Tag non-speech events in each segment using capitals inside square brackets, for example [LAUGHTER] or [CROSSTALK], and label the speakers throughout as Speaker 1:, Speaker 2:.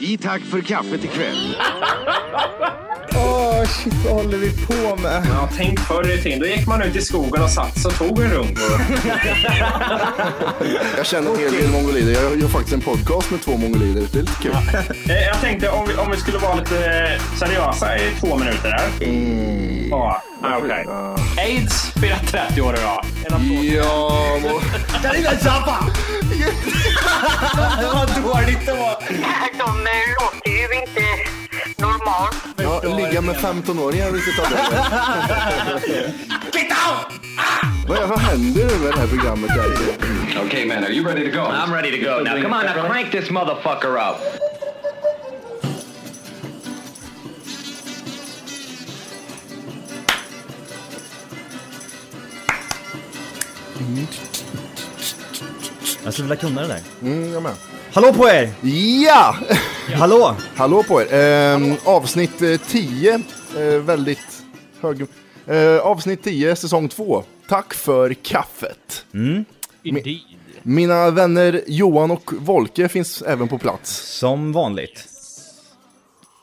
Speaker 1: I tack för kaffet
Speaker 2: [LAUGHS]
Speaker 1: ikväll.
Speaker 2: Åh, Ah, shit, vad håller vi på med?
Speaker 3: Ja, tänk förr i tiden. Då gick man ut i skogen och satt sig och tog en runk.
Speaker 4: Jag känner en hel del mongolider. Jag gör faktiskt en podcast med två mongolider. Det är lite kul.
Speaker 3: Eh, Jag tänkte om vi, om vi skulle vara lite eh, seriösa i två minuter där. Ja, ah, okej. Aids firar 30 år idag. En applåd.
Speaker 4: Ja, må...
Speaker 3: Vad dåligt det var.
Speaker 5: De eh, låter ju inte normalt.
Speaker 4: ja, ligga med 15-åringar vilket av det är. Vad, vad händer nu med det här programmet? Där?
Speaker 6: Okay, man, are you ready to go? I'm ready to go. Now, come on, now crank this motherfucker up.
Speaker 7: Jag skulle vilja kunna det där.
Speaker 4: Mm, jag med.
Speaker 7: Hallå på er!
Speaker 4: Ja!
Speaker 7: Hallå!
Speaker 4: Hallå på er. Ehm, avsnitt eh, 10. Eh, väldigt hög... Eh, avsnitt 10, säsong 2. Tack för kaffet.
Speaker 8: Indeed.
Speaker 4: Mina vänner Johan och Volke finns även på plats.
Speaker 7: Som vanligt.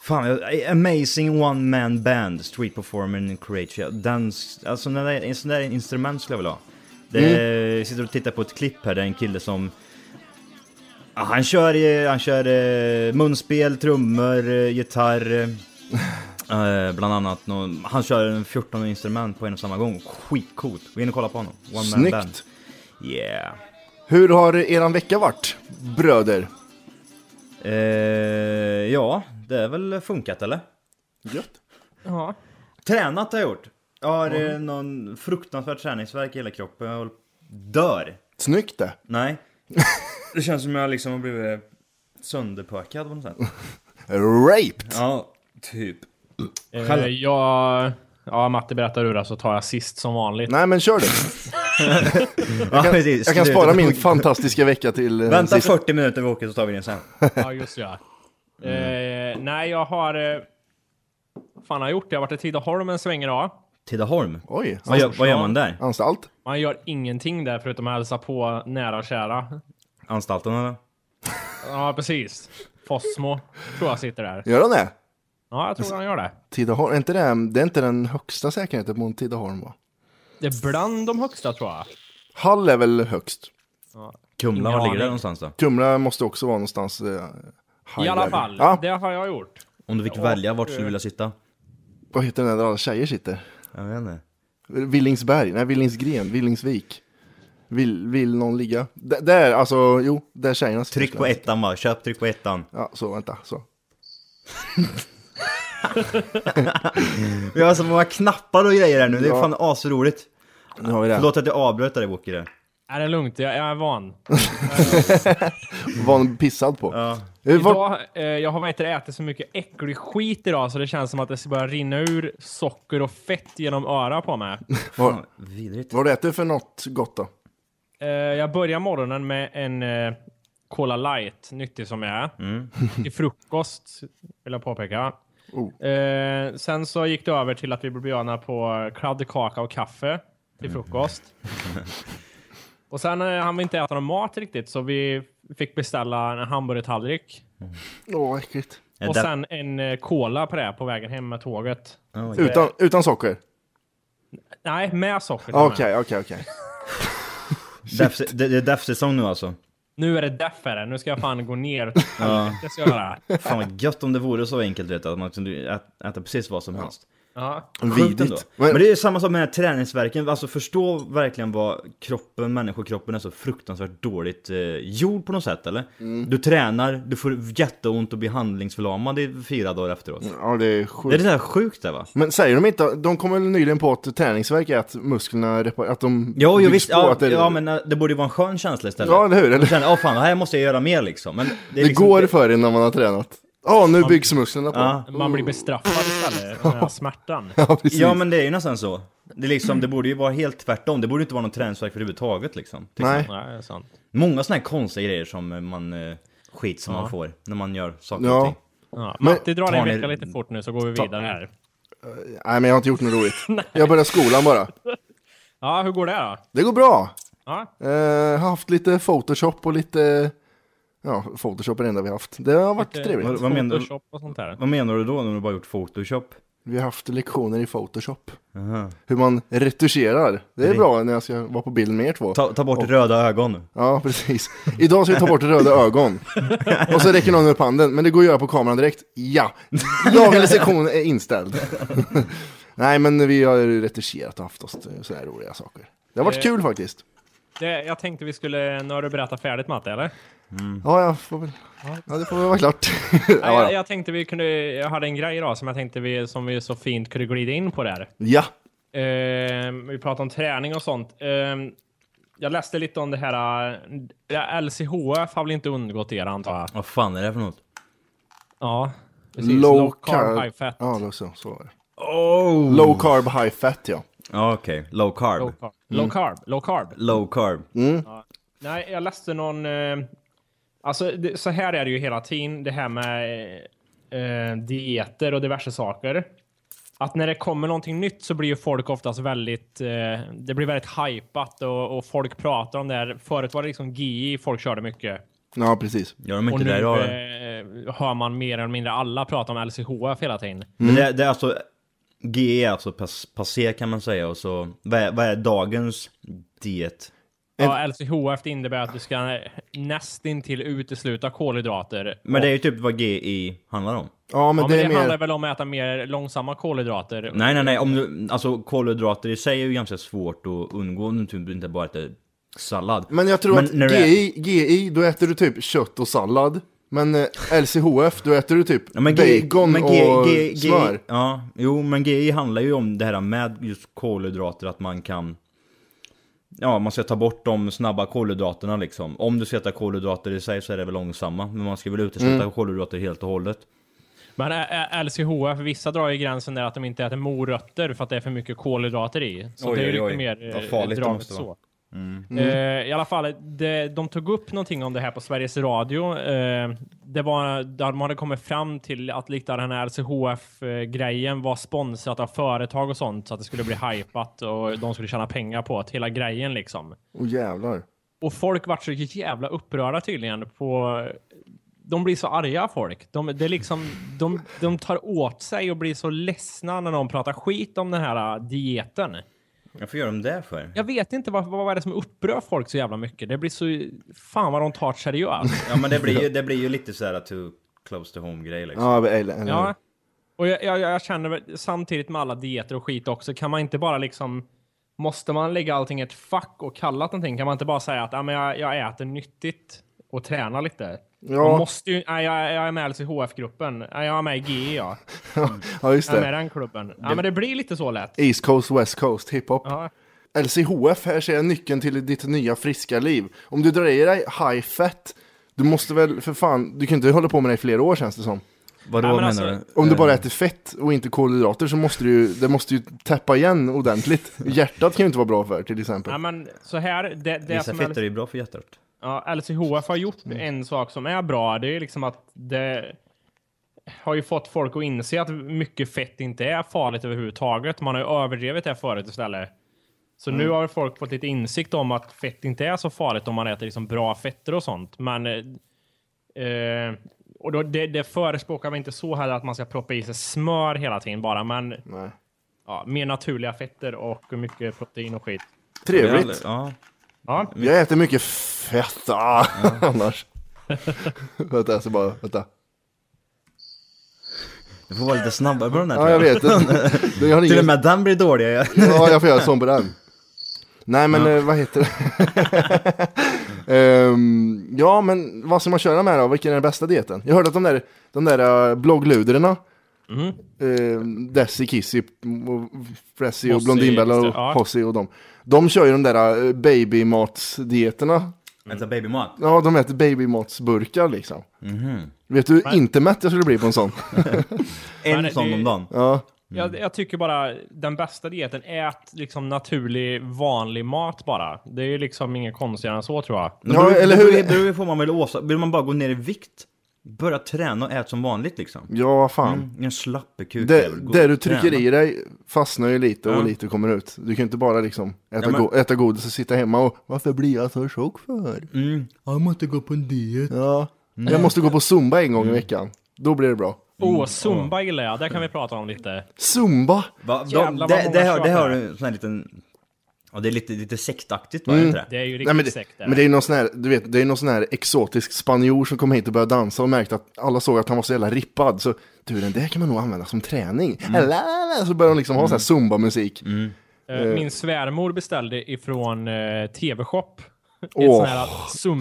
Speaker 7: Fan, jag- amazing one man band, street performer in Croatia. Dans, alltså när det är, en sån där instrument skulle jag vilja ha. Det, Jag sitter och tittar på ett klipp här, där en kille som... Ja, han kör, eh, han kör eh, munspel, trummor, eh, gitarr, eh, eh, bland annat. någon- Han kör en 14 instrument på en och samma gång. Skitcoolt! Gå in och kolla på honom. One man band.
Speaker 4: Snyggt!
Speaker 7: Yeah!
Speaker 4: Hur har eran vecka varit, bröder?
Speaker 7: Eh, ja, det är väl funkat eller?
Speaker 4: Gött.
Speaker 7: Tränat har jag gjort. Jag har eh, någon fruktansvärd träningsvärk i hela kroppen. Jag håller- dör.
Speaker 4: Snyggt det!
Speaker 7: Nej. [LAUGHS] Det känns som jag liksom har blivit sönderpökad på något [LAUGHS] sätt.
Speaker 4: Raped!
Speaker 7: Ja, typ.
Speaker 8: Eh, jag... Ja, Matte berättar ur det så tar jag sist
Speaker 3: [LAUGHS]
Speaker 8: som vanligt.
Speaker 4: Nej men kör du!
Speaker 7: Jag kan,
Speaker 4: Jag kan spara
Speaker 7: [LAUGHS]
Speaker 4: min fantastiska vecka till eh,
Speaker 7: Vänta
Speaker 4: sist.
Speaker 7: 40 minuter Åke så tar vi den sen.
Speaker 8: Ja, just det. ja.
Speaker 3: Mm.
Speaker 8: Eh, nej, jag har... Eh, vad fan har jag gjort? Jag har varit i Tidaholm en sväng idag.
Speaker 7: Tidaholm.
Speaker 4: Oj,
Speaker 7: Vad gör, vad gör man där?
Speaker 4: anstalt?
Speaker 8: Man gör ingenting där förutom att hälsa på nära och kära.
Speaker 7: Anstalten eller?
Speaker 8: Ja, precis. Fossmo tror jag sitter där.
Speaker 4: Gör han det?
Speaker 8: Ja, jag tror han gör det.
Speaker 4: Tidaholm, är inte det, det är inte den högsta säkerheten på en Tidaholm va?
Speaker 8: Det är bland de högsta tror jag.
Speaker 4: Hall är väl högst?
Speaker 7: Kumla,
Speaker 8: Ingen
Speaker 7: var ligger det
Speaker 8: aning.
Speaker 7: någonstans då?
Speaker 4: Kumla måste också vara någonstans... Eh, high
Speaker 8: I alla
Speaker 4: level.
Speaker 8: fall,
Speaker 4: Ja,
Speaker 8: det har jag gjort.
Speaker 7: Om du fick välja vart skulle du vilja sitta?
Speaker 4: vad heter den där alla tjejer sitter?
Speaker 7: Jag vet inte.
Speaker 4: Villingsberg, nej Villingsgren, Villingsvik. Vill, vill någon ligga? D- där, alltså, jo, där tjejerna sitter.
Speaker 7: Tryck på ettan bara, köp tryck på [LAUGHS] ettan.
Speaker 4: Ja, så vänta, så.
Speaker 7: Vi har så många knappar och grejer här nu, det är fan asroligt.
Speaker 4: Nu har vi det. här.
Speaker 7: Förlåt att jag avbröt dig Åke där.
Speaker 8: Är det lugnt? Jag, jag är van.
Speaker 4: [LAUGHS] Var han pissad på. Eh, var-
Speaker 8: Idag, eh, jag har inte ätit så mycket äcklig skit idag så det känns som att det ska börja rinna ur socker och fett genom öra på mig.
Speaker 4: Vad
Speaker 7: Vidrigt.
Speaker 4: vad har du ätit för något gott då?
Speaker 8: Eh, jag börjar morgonen med en eh, Cola light, nyttig som jag är.
Speaker 7: Mm.
Speaker 8: Till frukost, vill jag påpeka.
Speaker 7: Oh.
Speaker 8: Eh, sen så gick det över till att vi blev bjudna på kladdkaka och kaffe till
Speaker 7: [LAUGHS]
Speaker 8: frukost. och sen eh, hann vi inte äta någon mat riktigt så vi fick beställa en hamburgertallrik.
Speaker 4: Åh, vad äckligt.
Speaker 7: Är
Speaker 8: Och
Speaker 7: det-
Speaker 8: sen en eh, cola på det här på vägen hem med tåget.
Speaker 4: Utan, utan socker?
Speaker 8: Nej, med socker. till och med.
Speaker 4: Okej, okej, okej.
Speaker 7: Death, det, det är death-säsong nu alltså.
Speaker 8: Nu är det därför. det. Nu ska jag fan gå
Speaker 7: [LAUGHS]
Speaker 8: ner. Det ska jag göra.
Speaker 7: Fan vad gött om det vore så enkelt vet du, att man kunde ä- äta precis vad som helst.
Speaker 8: Ja.
Speaker 7: Sjukt ändå.
Speaker 4: Vidrigt.
Speaker 7: Men
Speaker 4: Men-
Speaker 7: det är ju samma sak med träningsverken. alltså förstå verkligen vad kroppen, människokroppen är så fruktansvärt dåligt eh, gjord på något sätt eller? Du tränar, du får jätteont och blir handlingsförlamad i fyra dagar efteråt.
Speaker 4: Ja, det är
Speaker 7: Det är
Speaker 4: sjukt.
Speaker 7: det där sjukt det va?
Speaker 4: Men säger de inte, de kom väl nyligen på att träningsvärk är att musklerna repar- att de
Speaker 7: Jo, jo
Speaker 4: byggs
Speaker 7: visst,
Speaker 4: på,
Speaker 7: ja,
Speaker 4: att det,
Speaker 7: ja men eh, det borde ju vara en skön känsla istället.
Speaker 4: Ja, eller hur? Eller-
Speaker 7: Du känner, åh fan, här måste jag göra mer liksom. Men det, är
Speaker 4: det
Speaker 7: liksom,
Speaker 4: går
Speaker 7: det-
Speaker 4: för en när man har tränat. Ja, nu byggs musklerna på.
Speaker 7: Ja.
Speaker 8: Man blir bestraffad istället. Den här
Speaker 7: [LAUGHS]
Speaker 8: smärtan.
Speaker 4: [LAUGHS] Ja, precis.
Speaker 7: Ja men det är ju nästan så. Det, är liksom, det borde ju vara helt tvärtom, det borde inte vara någon träningsvärk överhuvudtaget liksom. tycker
Speaker 4: Nej.
Speaker 8: Nej, det är sant.
Speaker 7: Många såna här konstiga grejer som eh, man eh, skit som man får när man gör saker
Speaker 4: Ja.
Speaker 7: och ting.
Speaker 8: Ja, Matti drar
Speaker 7: tar
Speaker 8: en
Speaker 7: ni-
Speaker 8: vecka lite fort nu så går vi vidare här.
Speaker 4: Nej, men jag har inte gjort något
Speaker 7: [LAUGHS]
Speaker 4: roligt. jag började skolan bara.
Speaker 8: Ja, hur går det då?
Speaker 4: Det går bra.
Speaker 8: Ja,
Speaker 4: Eh, har haft lite Photoshop och lite Ja, Photoshop är det enda vi har haft. Det har varit trevligt.
Speaker 7: Vad, vad, menar,
Speaker 8: Photoshop och sånt där.
Speaker 7: vad menar du då när du bara gjort Photoshop?
Speaker 4: Vi har haft lektioner i Photoshop. Hur man retuscherar. Det är bra när jag ska vara på bild med er två.
Speaker 7: Ta, ta bort röda ögon.
Speaker 4: Ja, precis. Idag ska vi ta bort röda ögon. Och så räcker någon upp handen, men det går att göra på kameran direkt. Ja, dagens sektion är inställd. [LAUGHS] Nej, men vi har ju retuscherat och haft oss sådana här roliga saker. Det har varit kul faktiskt.
Speaker 8: Det, jag tänkte vi skulle... Nu har du berättat färdigt Matte, eller?
Speaker 4: Ja, jag får väl... ja det får väl vara klart.
Speaker 8: Nej,
Speaker 4: ja,
Speaker 8: jag,
Speaker 4: ja.
Speaker 8: jag tänkte vi kunde... Jag hade en grej idag som jag tänkte vi, som vi så fint kunde glida in på där.
Speaker 4: ja.
Speaker 8: Ehm, vi pratar om träning och sånt. Ehm, jag läste lite om det här... eh, LCHF har väl inte undgått er antar jag?
Speaker 7: Vad fan är det för något?
Speaker 8: Ja. precis.
Speaker 4: Low,
Speaker 8: carb high fat.
Speaker 4: Ja, low, så, så var det.
Speaker 7: Oh!
Speaker 4: Low carb, high fat ja.
Speaker 7: Ja, okej. Low carb.
Speaker 8: Low carb. Mm. Low carb. Low carb.
Speaker 7: Low carb.
Speaker 4: Mm.
Speaker 8: Nej, jag läste någon... Eh, alltså, det, så här är det ju hela tiden, det här med eh, eh, dieter och diverse saker. Att när det kommer någonting nytt så blir ju folk oftast väldigt... Eh, det blir väldigt hypat och, och folk pratar om det här. Förut var det liksom GI folk körde mycket.
Speaker 4: Ja, precis.
Speaker 7: Gör de
Speaker 8: Och
Speaker 7: inte
Speaker 8: nu
Speaker 7: det idag? eller?
Speaker 8: eh, hör man mer eller mindre alla prata om LCHF hela tiden.
Speaker 7: Men det, det är alltså... G är alltså pass, passé kan man säga och så... Vad är, vad är dagens diet?
Speaker 8: Ja, LCHF det innebär att du ska nästintill utesluta kolhydrater.
Speaker 7: Men det är ju typ vad GI handlar om.
Speaker 4: Ja, men
Speaker 8: Ja,
Speaker 4: det
Speaker 8: men det
Speaker 4: är mer...
Speaker 8: handlar väl om att äta mer långsamma kolhydrater.
Speaker 7: Nej, nej, nej. Om du, alltså kolhydrater i sig är ju ganska svårt att undgå om du typ inte bara äter sallad.
Speaker 4: Men jag tror att
Speaker 7: när du äter-
Speaker 4: GI, GI, då äter du typ kött och sallad. Men eh, LCHF, då äter du typ
Speaker 7: Ja, men G-
Speaker 4: bacon
Speaker 7: men G-
Speaker 4: och
Speaker 7: G- G-
Speaker 4: smör.
Speaker 7: Ja, jo, men GI handlar ju om det här med just kolhydrater, att man kan... Ja, man ska ta bort de snabba kolhydraterna liksom. Om du ska äta kolhydrater i sig så är det väl långsamma, men man ska väl utesluta
Speaker 4: Mm.
Speaker 7: kolhydrater helt och hållet.
Speaker 8: Men ä- ä- LCHF, vissa drar ju gränsen där att de inte äter morötter för att det är för mycket kolhydrater i. Så
Speaker 7: Oj,
Speaker 8: det är ju
Speaker 7: oj,
Speaker 8: lite
Speaker 7: oj.
Speaker 8: mer
Speaker 7: Vad
Speaker 8: eh,
Speaker 7: farligt det
Speaker 8: draget
Speaker 7: måste vara.
Speaker 8: så. Eh, I alla fall, det, de tog upp någonting om det här på Sveriges Radio. Eh, det var, där de hade kommit fram till att lite av den här LCHF-grejen var sponsrat av företag och sånt så att det skulle bli hypat och de skulle tjäna pengar på att hela grejen liksom.
Speaker 4: Åh jävlar.
Speaker 8: Och folk vart så jävla upprörda tydligen på... De blir så arga folk. De, det är liksom, de, de tar åt sig och blir så ledsna när de pratar skit om den här äh, dieten.
Speaker 7: Varför gör de det för?
Speaker 8: Jag vet inte vad, vad är det som upprör folk så jävla mycket. Det blir så... Fan vad de tar det seriöst.
Speaker 7: Ja, men det
Speaker 8: [LAUGHS]
Speaker 7: blir ju, det blir ju lite så här to close to home grej liksom.
Speaker 4: Ja, eller, eller.
Speaker 8: Ja. Och jag, jag, jag känner väl- samtidigt med alla dieter och skit också, kan man inte bara liksom... Måste man lägga allting i ett fack och kalla det någonting? Kan man inte bara säga att ah, men jag, jag äter nyttigt och tränar lite? Man
Speaker 4: Ja,
Speaker 8: måste ju, nej, jag, jag är med i LCHF-gruppen. Nej, Jag är med i GE, ja.
Speaker 4: ja, just
Speaker 8: Jag är med i
Speaker 4: det.
Speaker 8: den klubben. Ja, men det blir lite så lätt.
Speaker 4: East Coast, West Coast, hiphop.
Speaker 8: Ja.
Speaker 4: LCHF, här ser jag nyckeln till ditt nya friska liv. Om du drar i dig high fat, du måste väl för fan, du kan inte hålla på med det i flera år känns det som.
Speaker 7: Vadå
Speaker 8: Ja, men
Speaker 7: menar
Speaker 8: alltså-
Speaker 7: du?
Speaker 4: Om du bara äter fett och inte kolhydrater så måste du ju, det måste ju täppa igen
Speaker 7: [LAUGHS]
Speaker 4: ordentligt. Hjärtat kan ju inte vara bra för till exempel.
Speaker 8: Ja, men så här, det, det
Speaker 7: Vissa
Speaker 8: som
Speaker 7: fetter är
Speaker 8: L-
Speaker 7: ju bra för hjärtat.
Speaker 8: ja, LCHF har gjort en sak som är bra, det är liksom att det har ju fått folk att inse att mycket fett inte är farligt överhuvudtaget. Man har ju överdrivit det förut istället. Så nu har folk fått lite insikt om att fett inte är så farligt om man äter liksom bra fetter och sånt. Men eh, eh, och då, det, det förespråkar vi inte så heller att man ska proppa i sig smör hela tiden bara, men
Speaker 4: Nej.
Speaker 8: ja, mer naturliga fetter och mycket protein och skit.
Speaker 4: Trevligt.
Speaker 7: Ja.
Speaker 8: Ja,
Speaker 4: Jag äter mycket fett ah, [LAUGHS] annars.
Speaker 8: [LAUGHS]
Speaker 4: vänta, jag ska bara, vänta.
Speaker 7: Du får vara lite snabbare på den här
Speaker 4: Ja, jag
Speaker 7: tror jag.
Speaker 4: vet.
Speaker 7: [LAUGHS]
Speaker 4: jag har
Speaker 7: Till och
Speaker 4: ingen...
Speaker 7: med den blir dålig. [LAUGHS] ja.
Speaker 4: Ja, jag får göra sån på den. Nej, men eh, vad heter det? [LAUGHS] Ehm, ja, men vad ska man köra med då? Vilken är den bästa dieten? Jag hörde att de där, de där eh, bloggluderna, ehm, Desi, Kissy, och Fressi och
Speaker 8: Hossi,
Speaker 4: Blondinbella
Speaker 8: just
Speaker 4: och
Speaker 8: det, ja.
Speaker 4: Hossi och dem. De kör ju de där eh, babymatsdieterna.
Speaker 7: Äta babymat.
Speaker 4: Ja, de äter babymatsburkar liksom.
Speaker 8: Mhm.
Speaker 4: Vet du inte mätt jag skulle bli på en sån?
Speaker 7: En
Speaker 8: Men
Speaker 7: sån
Speaker 8: det-
Speaker 7: om dagen.
Speaker 4: Ja, Mm.
Speaker 8: Jag, jag tycker bara den bästa dieten, ät liksom naturlig vanlig mat bara. Det är ju liksom inget konstigare än så tror jag.
Speaker 7: Men
Speaker 4: Ja,
Speaker 7: beror,
Speaker 4: eller
Speaker 7: eller
Speaker 4: hur-
Speaker 7: hur? Beror, beror på vad man vill åsa. Vill man bara gå ner i vikt? Börja träna och äta som vanligt liksom.
Speaker 4: ja fan.
Speaker 7: Mm. En slappekuk.
Speaker 4: Det,
Speaker 7: jävel. Gå
Speaker 4: det
Speaker 7: och
Speaker 4: du trycker
Speaker 7: träna.
Speaker 4: i dig fastnar ju lite och lite kommer ut. Du kan ju inte bara liksom äta,
Speaker 7: Ja, men-
Speaker 4: go- äta godis och sitta hemma och varför blir jag så tjock för?
Speaker 7: Mm. Jag måste gå på en diet.
Speaker 4: Ja, Jag måste gå på zumba en gång i veckan. Då blir det bra.
Speaker 8: Åh, Zumba gillar jag. Det kan vi prata om lite.
Speaker 4: Zumba!
Speaker 7: Va, de,
Speaker 8: Jävlar, vad
Speaker 7: det, det,
Speaker 8: många
Speaker 7: har, det
Speaker 8: tjatar.
Speaker 7: har du en sån här liten... Ja, det är lite, lite sektaktigt, va?
Speaker 4: Mm.
Speaker 7: Är inte
Speaker 8: Det
Speaker 7: det?
Speaker 8: är ju
Speaker 4: Nej, men,
Speaker 8: riktigt
Speaker 4: det,
Speaker 8: sekt.
Speaker 4: men det är ju någon sån här, du vet, det är någon sån här exotisk spanjor som kom hit och började dansa och märkte att alla såg att han var så jävla rippad. Så du, den där kan man nog använda som träning. Lalalala, Så började de liksom ha sån här zumba-musik.
Speaker 8: Eh, Min svärmor beställde ifrån eh, TV-shop. Ett
Speaker 4: Åh,
Speaker 8: sånt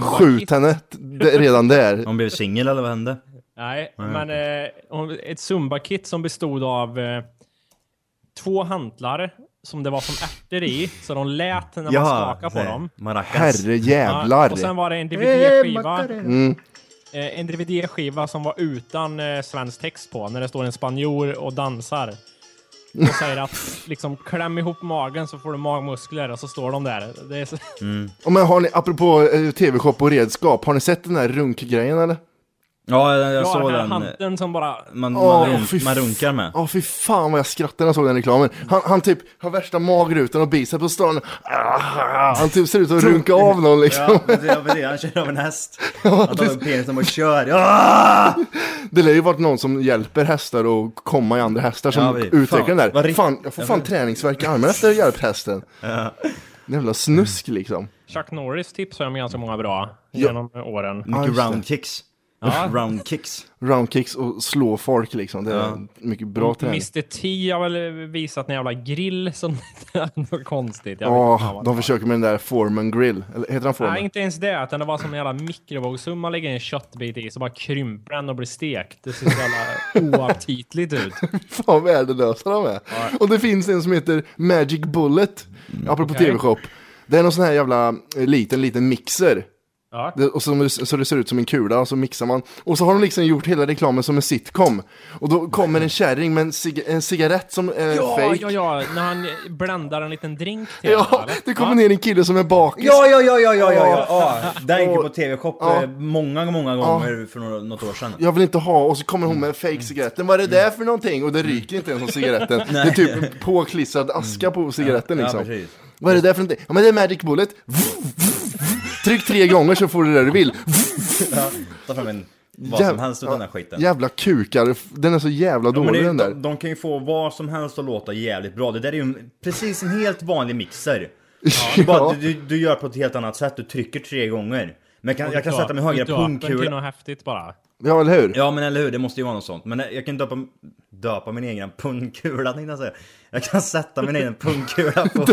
Speaker 8: här
Speaker 4: Skjut
Speaker 8: Zumba-kit.
Speaker 4: henne t- d- redan där.
Speaker 7: De blev singel, eller vad hände?
Speaker 8: Nej, men eh, hon- ett Zumba-kit som bestod av eh, två hantlar som det var som ärtor i, så de lät när man skakade på
Speaker 7: såhär,
Speaker 8: dem.
Speaker 7: Maracas.
Speaker 4: Herre
Speaker 8: Ja,
Speaker 4: jävlar.
Speaker 8: Och sen var det en DVD-skiva. Eh, En DVD-skiva som var utan eh, svensk text på, när det står en spanjor och dansar. Och säger att liksom kläm ihop magen så får du magmuskler och så står de där. Det är så...
Speaker 4: Och men har ni, apropå eh, tv-shop och redskap, har ni sett den här runkgrejen eller?
Speaker 7: Ja, jag, jag
Speaker 8: ja,
Speaker 7: såg
Speaker 8: den här
Speaker 7: den.
Speaker 8: handen som bara...
Speaker 7: Man, man,
Speaker 4: Åh,
Speaker 7: runk-
Speaker 4: fy
Speaker 7: man
Speaker 4: f-
Speaker 7: runkar med.
Speaker 4: Ja, fy fan vad jag skrattade när jag såg den reklamen. Han, han typ har värsta magrutan och biceps på stan. Han typ ser ut att runka av någon liksom.
Speaker 7: Ja, precis, ja, precis. Han kör av en häst.
Speaker 4: [LAUGHS]
Speaker 7: Han tar upp penisen och kör. Ah!
Speaker 4: Det lär ju varit någon som hjälper hästar att komma i andra hästar som
Speaker 7: Ja, precis.
Speaker 4: utvecklar
Speaker 7: Fan,
Speaker 4: den
Speaker 7: vad
Speaker 4: där.
Speaker 7: rikt-
Speaker 4: Fan, jag får fan träningsvärk i armen efter att ha hjälpt hästen. Jävla snusk liksom.
Speaker 8: Chuck Norris tips har jag med ganska många bra genom åren.
Speaker 4: Ja, just
Speaker 7: Mycket
Speaker 4: det.
Speaker 7: roundkicks. Roundkicks.
Speaker 4: Roundkicks och slå folk liksom. Det är mycket bra träning.
Speaker 8: Mr T har väl visat en jävla grill som [LAUGHS] var konstigt. Jag vet inte
Speaker 4: Ja,
Speaker 8: vad det
Speaker 4: de
Speaker 8: var.
Speaker 4: försöker med den där Foreman Grill. Eller heter han
Speaker 8: Nej,
Speaker 4: Foreman?
Speaker 8: inte ens det. Utan det var som en jävla mikrovågsugn man lägger en köttbit i, så bara krymper den och blir stekt. Det ser så jävla oaptitligt ut.
Speaker 4: Fan värdelösa de är. Och det finns en som heter Magic Bullet,
Speaker 7: Mm.
Speaker 4: apropå
Speaker 8: Okej.
Speaker 4: TV-shop. Det är någon sån här jävla eh, liten, liten mixer.
Speaker 8: Ja.
Speaker 4: Det, och så, så det ser ut som en kula och så mixar man. Och så har de liksom gjort hela reklamen som en sitcom. Och då kommer en kärring med en, cig en cigarett som är
Speaker 8: Ja,
Speaker 4: fake.
Speaker 8: ja, ja, när han bländar en liten drink till den,
Speaker 4: [LAUGHS] Ja,
Speaker 8: eller?
Speaker 4: det kommer ner en kille som är bakis.
Speaker 7: Ja, ja, ja, ja, ja, ja, ja. ja. Den gick ju på TV-shop
Speaker 4: Ja.
Speaker 7: eh, många, många gånger för några, något år sedan.
Speaker 4: Jag vill inte ha, och så kommer hon med en
Speaker 7: Mm.
Speaker 4: fake cigaretten. Vad är det där för någonting? Och det ryker inte ens om
Speaker 7: [LAUGHS]
Speaker 4: cigaretten. det är typ påklistrad aska på cigaretten
Speaker 7: Ja,
Speaker 4: liksom.
Speaker 7: precis.
Speaker 4: Vad är det där för någonting? Ja men det är Magic Bullet. Tryck tre gånger så får du det du vill.
Speaker 7: Ja, ta fram en, vad
Speaker 4: Jäv-
Speaker 7: som helst av den här skiten.
Speaker 4: Jävla kukar, den är så jävla
Speaker 7: Ja, men
Speaker 4: dålig
Speaker 7: det,
Speaker 4: den där.
Speaker 7: de, de kan ju få vad som helst att låta jävligt bra. Det där är ju en, precis en helt vanlig mixer. [LAUGHS]
Speaker 4: [LAUGHS]
Speaker 7: Du, bara, du, du, du gör på ett helt annat sätt, du trycker tre gånger. Men jag kan, jag kan sätta min
Speaker 8: Du
Speaker 7: högra
Speaker 8: döper den till
Speaker 7: pungkula.
Speaker 8: något häftigt bara.
Speaker 4: Ja eller hur?
Speaker 7: Ja men eller hur, det måste ju vara något sånt. Men jag kan döpa, döpa min egen pungkula tänkte jag säga. Jag kan sätta min egen pungkula [LAUGHS] på...
Speaker 4: [LAUGHS]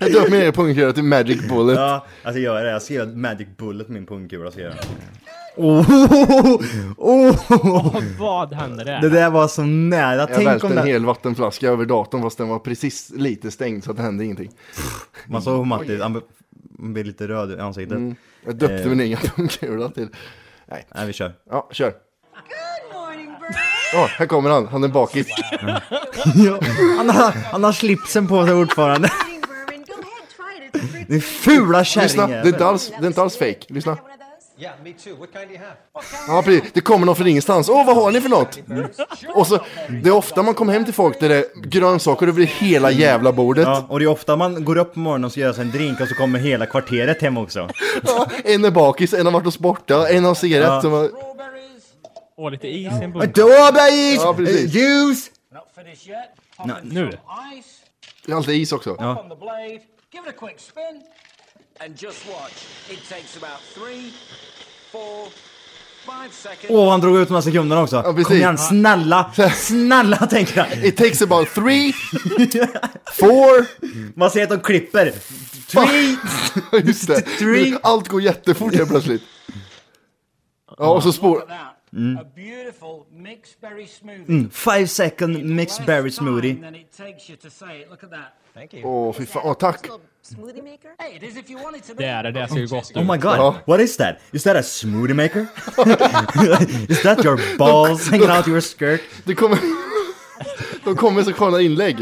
Speaker 4: Jag döper min egen pungkula till Magic Bullet.
Speaker 7: Ja, alltså jag gör det. Jag ska göra ett Magic Bullet med min pungkula. Ska jag. göra. [LAUGHS] Oh, oh, oh.
Speaker 8: Vad hände där?
Speaker 7: Det där var så nära.
Speaker 4: Jag
Speaker 7: Tänk
Speaker 4: välte
Speaker 7: om
Speaker 4: en
Speaker 7: det...
Speaker 4: hel vattenflaska över datorn fast den var precis lite stängd så att det hände ingenting.
Speaker 7: Man såg hur Matti, han blev- han blev lite röd i ansiktet.
Speaker 4: Jag döpte
Speaker 7: Eh.
Speaker 4: min egen pungkula till...
Speaker 7: Nej vi [LAUGHS] kör.
Speaker 4: Ja, kör. Ja, här kommer han. Han är bakis.
Speaker 7: Han har, han har slipsen på sig fortfarande. [LAUGHS] Din fula
Speaker 4: Lyssna, det är inte alls, det är inte alls fake. Lyssna. Ja, precis. Det kommer någon från ingenstans. Åh, vad har ni för något? Och så, det är ofta man kommer hem till folk där det är grönsaker över hela jävla bordet.
Speaker 7: Ja, och det är ofta man går upp på morgonen och ska göra sig en drink och så kommer hela kvarteret hem också.
Speaker 4: Ja, En är bakis, en har varit och sportat, en har cigarett.
Speaker 7: Ja.
Speaker 4: Som har...
Speaker 8: Åh, lite is i en burk.
Speaker 7: Strawberries!
Speaker 4: Ja,
Speaker 7: Eh,
Speaker 4: precis.
Speaker 7: Juice!
Speaker 8: Nu.
Speaker 4: Det är alltid is också.
Speaker 7: Oh.
Speaker 9: on the blade, give it a quick spin, and just watch. It takes about three, four, five seconds.
Speaker 7: Åh, han drog ut de här sekunderna också.
Speaker 4: precis.
Speaker 7: Kom igen, snälla, snälla
Speaker 4: [LAUGHS]
Speaker 7: tänker jag.
Speaker 4: It takes about three,
Speaker 7: [LAUGHS]
Speaker 4: four...
Speaker 7: Man ser att de klipper. Three!
Speaker 4: Ja, Just
Speaker 7: Three.
Speaker 4: det. Allt går jättefort helt plötsligt. Ja, och så spår...
Speaker 9: That,
Speaker 7: Mm.
Speaker 9: a beautiful mixed berry smoothie.
Speaker 7: Five second Mm, mixed berry
Speaker 9: Less time
Speaker 7: smoothie.
Speaker 9: than it takes you to say it. Look at that.
Speaker 4: Åh, fy fan. Åh, tack.
Speaker 9: Hey, it is if you want it to be.
Speaker 8: Det är det, det ser ju gott
Speaker 7: Oh
Speaker 8: ut.
Speaker 7: my god,
Speaker 4: Ja.
Speaker 7: what is that? Is that a smoothie maker? [LAUGHS] is that
Speaker 4: [LAUGHS]
Speaker 7: your balls hanging out your skirt?
Speaker 4: Det kommer... [LAUGHS] De kommer så sköna inlägg.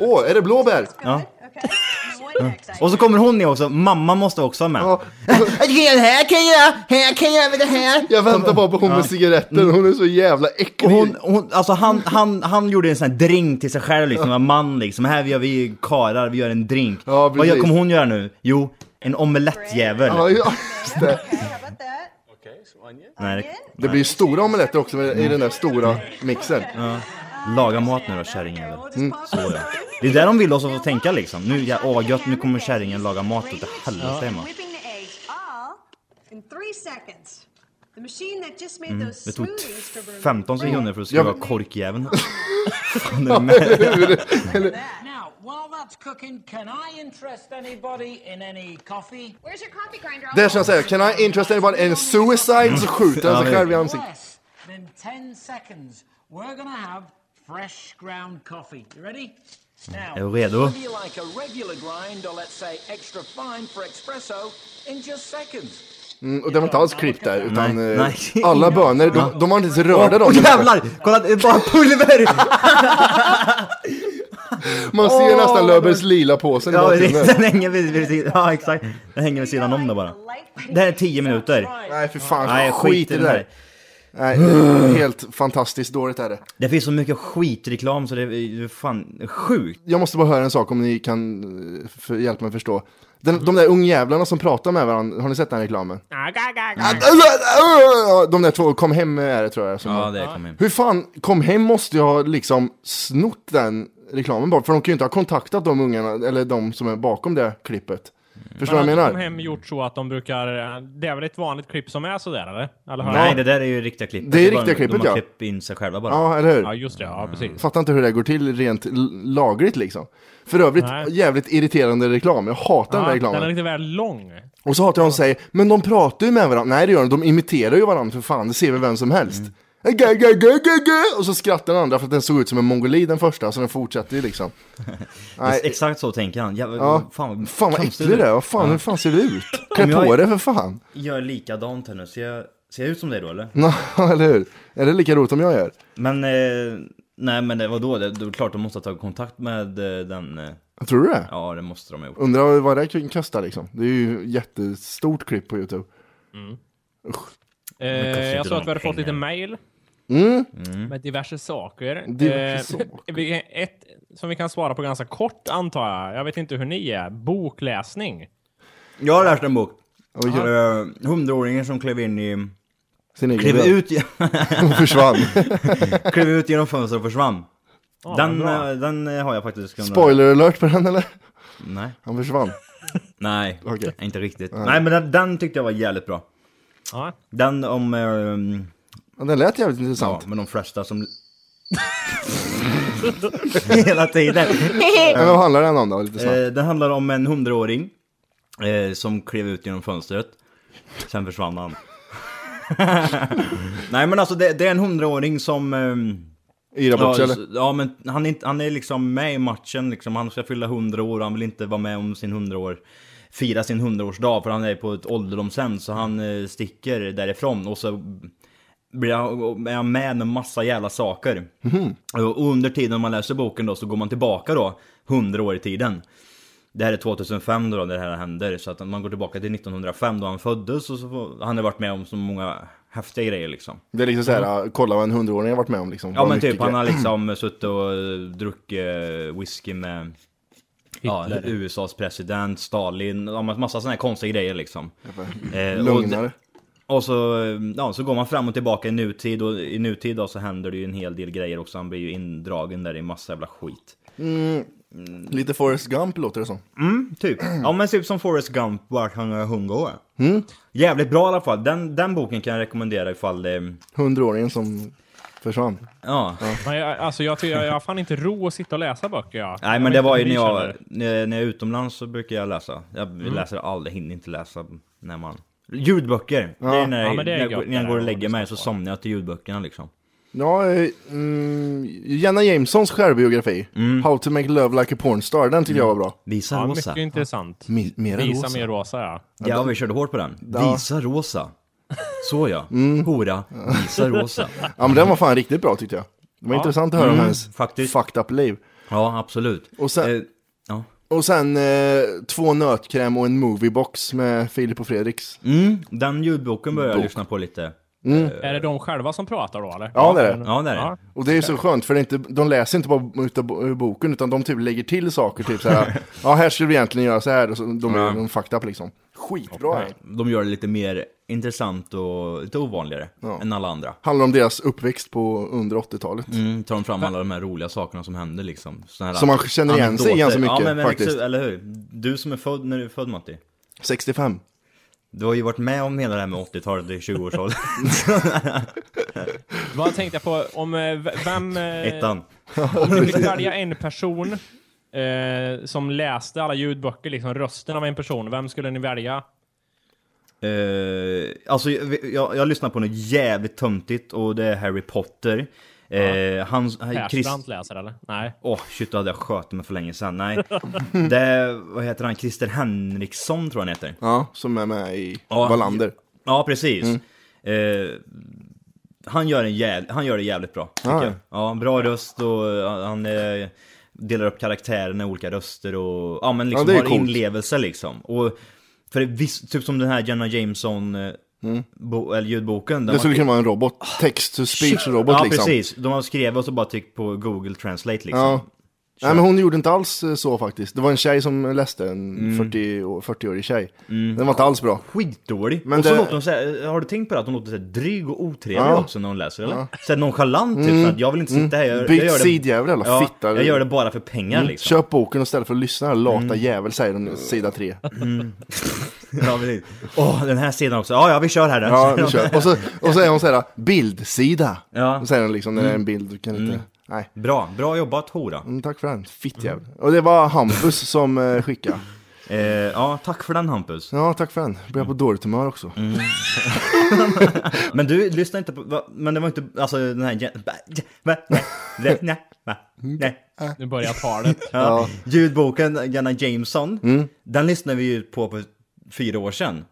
Speaker 4: Åh, är det blåbär?
Speaker 7: [LAUGHS] Och så kommer hon ner också, mamma måste också vara med.
Speaker 4: Ja.
Speaker 7: [LAUGHS] Här kan jag, här kan jag med det här.
Speaker 4: Jag väntar bara på hon med cigaretten, hon är så jävla
Speaker 7: Och
Speaker 4: äcklig.
Speaker 7: hon, hon, alltså han, han, han gjorde en sån här drink till sig själv liksom, en man liksom. Här gör vi karlar, vi gör en drink.
Speaker 4: Ja,
Speaker 7: Vad gör,
Speaker 4: precis.
Speaker 7: kommer hon göra nu? Jo, en omelettjävel.
Speaker 4: Ja, ja, just det.
Speaker 10: About that.
Speaker 9: Okay, so
Speaker 7: Nej, det-
Speaker 4: Det blir stora omeletter också med- i den där stora mixen.
Speaker 7: Laga mat nu då kärringjävel.
Speaker 4: Mm.
Speaker 7: Så ja. Det är där de vill oss att tänka liksom. Nu, ja, åh vad gött, nu kommer kärringen laga mat utav helvete hemma.
Speaker 10: Whipping the eggs all in three seconds. The machine that just made
Speaker 7: Mm.
Speaker 10: those
Speaker 7: Det tog
Speaker 10: smoothies for Bruno.
Speaker 7: 15 sekunder för att
Speaker 4: Ja,
Speaker 7: skruva
Speaker 4: men- [LAUGHS]
Speaker 7: korkjäveln. Fan, är du med?
Speaker 9: Now, while that's cooking, can I interest anybody in any coffee?
Speaker 10: Where's your coffee grinder? I'll
Speaker 4: Där ska jag säga, can I interest anybody in suicide? Så skjuter han sig
Speaker 7: Ja,
Speaker 4: själv i ansiktet.
Speaker 9: Less than 10 seconds, we're gonna have fresh ground coffee. You ready? Now,
Speaker 7: Är du redo?
Speaker 9: whether you like a regular grind or let's say extra fine for espresso in just seconds.
Speaker 4: Mm, och det var inte alls klippt där, utan
Speaker 7: Nej,
Speaker 4: eh,
Speaker 7: nej. [LAUGHS]
Speaker 4: alla bönor, de, de har inte ens rörda dem.
Speaker 7: Åh jävlar! Kolla, det är bara pulver!
Speaker 4: Man ser
Speaker 7: Åh.
Speaker 4: nästan Löbers lila påsen i
Speaker 7: Ja,
Speaker 4: bakgrunden.
Speaker 7: den hänger vid, vid, vid, ja, exakt. Den hänger vid sidan om där bara. Det här är 10 minuter.
Speaker 4: Nej för fan,
Speaker 7: Nej,
Speaker 4: skit i det där.
Speaker 7: där.
Speaker 4: Nej, det är
Speaker 7: [SIGHS]
Speaker 4: helt fantastiskt dåligt är det.
Speaker 7: Det finns så mycket skitreklam så det är fan sjukt.
Speaker 4: Jag måste bara höra en sak om ni kan eh, för, hjälpa mig förstå. Den, de där ungjävlarna som pratar med varandra, har ni sett den reklamen? De där två, kom hem är det tror jag. Som
Speaker 7: Ja, det kom in.
Speaker 4: Hur fan, kom hem måste jag ha liksom snott den reklamen bara, för de kan ju inte ha kontaktat de ungarna, eller de som är bakom det klippet.
Speaker 8: Mm.
Speaker 4: Förstår du vad jag
Speaker 8: Har de
Speaker 4: menar?
Speaker 8: hem gjort så att de brukar... Det är väl ett vanligt klipp som är sådär eller? eller har
Speaker 7: Nej,
Speaker 8: jag-
Speaker 7: det där är ju riktiga klippet.
Speaker 4: Det är
Speaker 7: bara-
Speaker 4: riktiga klippet,
Speaker 7: De har
Speaker 4: ja.
Speaker 7: klippt in sig själva bara.
Speaker 4: Ja, eller hur?
Speaker 8: Ja, just det. Ja, precis.
Speaker 4: Fattar inte hur det går till rent l- lagligt liksom. För övrigt,
Speaker 8: Nej.
Speaker 4: jävligt irriterande reklam. Jag hatar den
Speaker 8: Ja,
Speaker 4: där
Speaker 8: den
Speaker 4: reklamen.
Speaker 8: är lite väl lång.
Speaker 4: Och så hatar jag hon säger, men de pratar ju med varandra. Nej det gör de, de imiterar ju varandra för fan, det ser väl vem som helst.
Speaker 8: Mm.
Speaker 4: Gö, gö, gö, gö, gö. Och så skrattar den andra för att den såg ut som en mongoli den första, så den fortsatte ju
Speaker 8: [LAUGHS]
Speaker 4: liksom. Nej,
Speaker 7: Exakt så tänker han. Jävlar,
Speaker 4: Ja.
Speaker 7: Fan,
Speaker 4: fan vad
Speaker 7: konstigt
Speaker 4: äcklig du är, vad fan, hur fan ser du ut? Klä
Speaker 7: Om jag-
Speaker 4: på dig för fan. [LAUGHS]
Speaker 7: Jag är likadant här nu. Ser jag, ser jag ut som dig då eller?
Speaker 4: Nå, eller hur? Är det lika roligt om jag gör?
Speaker 7: Men, eh, nej men det, vadå? Det, det är klart de måste ha tagit kontakt med eh, den. Eh,
Speaker 4: Tror du det?
Speaker 7: ja, det måste de ha gjort.
Speaker 4: Undrar vad det kan kosta liksom. Det är ju jättestort klipp på YouTube.
Speaker 8: Eh,
Speaker 7: kanske inte
Speaker 8: jag såg att vi
Speaker 7: några
Speaker 8: hade fått lite
Speaker 7: pengar. Mm.
Speaker 8: mail. Med diverse saker.
Speaker 4: Diverse
Speaker 8: Eh, vi kan- ett som vi kan svara på ganska kort antar jag. Jag vet inte hur ni är. Bokläsning.
Speaker 7: Jag har läst en bok. Eh,
Speaker 4: Oj, oj,
Speaker 7: Hundraåringen som klev in i...
Speaker 4: sin egen
Speaker 7: Klev
Speaker 4: död.
Speaker 7: ut, [LAUGHS]
Speaker 4: Hon försvann.
Speaker 7: klev ut genom fönstret och försvann.
Speaker 8: Ja,
Speaker 7: den,
Speaker 8: bra.
Speaker 7: eh, den eh, har jag faktiskt kunnat...
Speaker 4: Spoiler alert på den eller?
Speaker 7: Nej,
Speaker 4: Han försvann.
Speaker 7: nej
Speaker 4: Okej.
Speaker 7: inte riktigt. Nej men den, den tyckte jag var jävligt bra.
Speaker 8: Ja.
Speaker 7: Den om... Eh,
Speaker 4: Ja, Den lät jävligt
Speaker 7: ja,
Speaker 4: intressant.
Speaker 7: men de flesta som... [LAUGHS] Hela tiden.
Speaker 4: Men vad handlar den om då? Lite snabbt.
Speaker 7: Eh, den handlar om en hundraåring eh, som klev ut genom fönstret. Sen försvann han. [LAUGHS] Nej men alltså det, det är en hundraåring som... ehm,
Speaker 4: Yra bort
Speaker 7: ja,
Speaker 4: sig eller?
Speaker 7: s- ja men han är, inte- han är liksom med i matchen liksom. Han ska fylla 100 år han vill inte vara med om sin 100 år Fira sin 100-årsdag för han är på ett ålderdomshem så han eh, sticker därifrån och så blir han, är han med en massa jävla saker. Och under tiden man läser boken då så går man tillbaka då 100 år i tiden. Det här är 2005 då, då det här händer, så att man går tillbaka till 1905 då han föddes och så får, han har varit med om så många häftiga grejer liksom.
Speaker 4: Det är liksom såhär, ja, kolla vad en hundraåring har varit med om liksom.
Speaker 7: Ja
Speaker 4: Vad
Speaker 7: men
Speaker 4: mycket
Speaker 7: typ, han har
Speaker 4: grejer. [CLEARS THROAT]
Speaker 7: liksom suttit och eh, druckit eh, whisky med ja, USAs president, Stalin, ja, men massa sådana här konstiga grejer liksom. Eh,
Speaker 4: Lugnare.
Speaker 7: Och, och så, eh, ja, så går man fram och tillbaka i nutid och i nutid då, så händer det ju en hel del grejer också. Han blir ju indragen där i massa jävla skit.
Speaker 4: Lite Forrest Gump låter det som.
Speaker 7: Typ. Ja men typ som Forrest Gump, vart han är hundra år.
Speaker 4: Mm.
Speaker 7: Jävligt bra i alla fall. Den, den boken kan jag rekommendera ifall det...
Speaker 4: Hundraåringen som försvann.
Speaker 7: Ja.
Speaker 8: Men jag, alltså, jag, tycker- jag har fan inte ro att sitta och läsa böcker. Jag.
Speaker 7: Nej
Speaker 8: jag vet
Speaker 7: men
Speaker 8: inte
Speaker 7: det
Speaker 8: Mm.
Speaker 7: var
Speaker 8: hur ni
Speaker 7: ju när jag,
Speaker 8: känner.
Speaker 7: när när jag är utomlands så brukar jag läsa. Jag läser aldrig, hinner inte läsa när man... Ljudböcker! Det är när,
Speaker 8: Ja,
Speaker 7: jag,
Speaker 8: men det är
Speaker 7: när, jag,
Speaker 8: gött
Speaker 7: går- när jag
Speaker 8: det
Speaker 7: går och
Speaker 8: där,
Speaker 7: lägger
Speaker 8: om man
Speaker 7: mig så
Speaker 8: ska svara.
Speaker 7: somnar jag till ljudböckerna liksom.
Speaker 4: Ja, eh, mm, Jenna Jamesons självbiografi,
Speaker 7: Mm.
Speaker 4: How to make love like a pornstar, den tyckte jag var bra.
Speaker 7: Visa
Speaker 8: Ja,
Speaker 7: rosa.
Speaker 8: mycket intressant.
Speaker 7: Mm.
Speaker 4: Mi- Mera
Speaker 8: Visa
Speaker 4: rosa.
Speaker 8: mer rosa ja.
Speaker 7: Ja vi körde hårt på den. Visa rosa. Så ja.
Speaker 4: Mm.
Speaker 7: Hora.
Speaker 4: [LAUGHS]
Speaker 7: Visa rosa.
Speaker 4: Ja men den var fan riktigt bra tyckte jag. Det var intressant att höra om hennes
Speaker 7: Mm, faktiskt.
Speaker 4: fucked up liv.
Speaker 7: Ja absolut.
Speaker 4: Och sen-
Speaker 7: Eh, ja.
Speaker 4: Och sen eh, två nötkräm och en moviebox med Filip och Fredriks.
Speaker 7: mm, den ljudboken började jag lyssna på lite.
Speaker 8: Är det de själva som pratar då eller?
Speaker 4: Ja, det är det.
Speaker 7: Ja där är
Speaker 8: Ja.
Speaker 7: ja.
Speaker 4: Och det är så skönt för det är inte, de läser inte bara utav bo- ur boken utan de typ lägger till saker. Typ
Speaker 7: [LAUGHS]
Speaker 4: såhär, ja här skulle vi egentligen göra så här. Och så, de är de är fucked up liksom. Skitbra.
Speaker 7: De gör det lite mer intressant och lite ovanligare än alla andra.
Speaker 4: Handlar om deras uppväxt på under 80-talet.
Speaker 7: Mm, tar de fram alla de här roliga sakerna som händer liksom. Såna här
Speaker 4: Som man känner igen sig i ganska
Speaker 7: anekdoter.
Speaker 4: mycket,
Speaker 7: ja, men, men,
Speaker 4: faktiskt.
Speaker 7: exakt, Eller hur? Du som är född, när du är född Matti.
Speaker 4: 65.
Speaker 7: Du har ju varit med om hela det här med 80-talet i 20-årsåldern.
Speaker 4: [LAUGHS]
Speaker 8: Vad tänkte jag på? Om eh, v- vem... eh,
Speaker 7: Ettan.
Speaker 8: [LAUGHS] Om du fick välja en person eh, som läste alla ljudböcker, liksom rösten av en person, vem skulle ni välja?
Speaker 7: Eh, alltså, jag, jag, jag lyssnar på något jävligt töntigt och det är Harry Potter. Eh, han, han, Chris,
Speaker 8: Persbrandt läser eller? Nej.
Speaker 7: Åh, oh, shit, då hade jag skjutit mig för länge sedan. Nej. det är, vad heter han, Christer Henriksson tror jag han heter.
Speaker 4: Ja, som är med i
Speaker 7: Ja.
Speaker 4: Wallander.
Speaker 7: Ja, precis.
Speaker 4: Mm.
Speaker 7: Eh, han, gör en jäv, han gör det jävligt bra, tycker
Speaker 4: Ah.
Speaker 7: jag. Ja, bra röst och eh, han eh, delar upp karaktärerna i olika röster och ja, men liksom
Speaker 4: det är
Speaker 7: har
Speaker 4: coolt.
Speaker 7: inlevelse liksom. Och för det, visst, typ som den här Jenna Jameson eh, bo, eller ljudboken. där
Speaker 4: Mm. Det
Speaker 7: man-
Speaker 4: skulle kunna vara en robot. Text-to-speech-robot
Speaker 7: ja,
Speaker 4: liksom.
Speaker 7: precis. De har skrivit och så bara tryckt på Google Translate liksom.
Speaker 4: Ja. Nej men hon gjorde inte alls eh, så faktiskt. Det var en tjej som läste, en
Speaker 7: Mm.
Speaker 4: 40 å- 40-årig tjej. Den var inte alls bra.
Speaker 7: skitdålig.
Speaker 4: Men
Speaker 7: och så
Speaker 4: det-
Speaker 7: låter hon så här, eh, har du tänkt på det att hon låter så här dryg och otrevlig
Speaker 4: Ja. Mm.
Speaker 7: också när hon läser eller? Så här nonchalant typ, för att jag vill inte sitta här. Jag,
Speaker 4: Byt
Speaker 7: jag gör det-
Speaker 4: sidjävel, jävla
Speaker 7: ja,
Speaker 4: fitta. Mm.
Speaker 7: Jag gör det bara för pengar liksom. Mm.
Speaker 4: Köp boken istället för att lyssna, lata jävel säger de sida tre.
Speaker 7: [LAUGHS] Ja, precis. Åh, den här sidan också. [LAUGHS] Ja, ja, vi kör här. Då.
Speaker 4: Ja, vi kör. Och så, och så är hon såhär, bildsida.
Speaker 7: Ja. Mm.
Speaker 4: Ja. Säger hon liksom, när det är en bild, du kan inte... Nej.
Speaker 7: Bra, bra jobbat hora.
Speaker 4: Mm, tack för den, fittjävel. Och det var Hampus som eh, skickade.
Speaker 7: Eh, ja, tack för den Hampus.
Speaker 4: Ja, tack för den. Börjar på
Speaker 7: Mm.
Speaker 4: dåligt humör också.
Speaker 7: Men du lyssnar inte på, va, men det var inte, alltså den här... gen- va- ja, va- nej, nej, nej, va- Nej.
Speaker 8: Nu börjar talet.
Speaker 7: [LAUGHS] Ja. Ljudboken Jenna Jameson,
Speaker 4: Mm.
Speaker 7: den lyssnade vi ju på för fyra år sedan.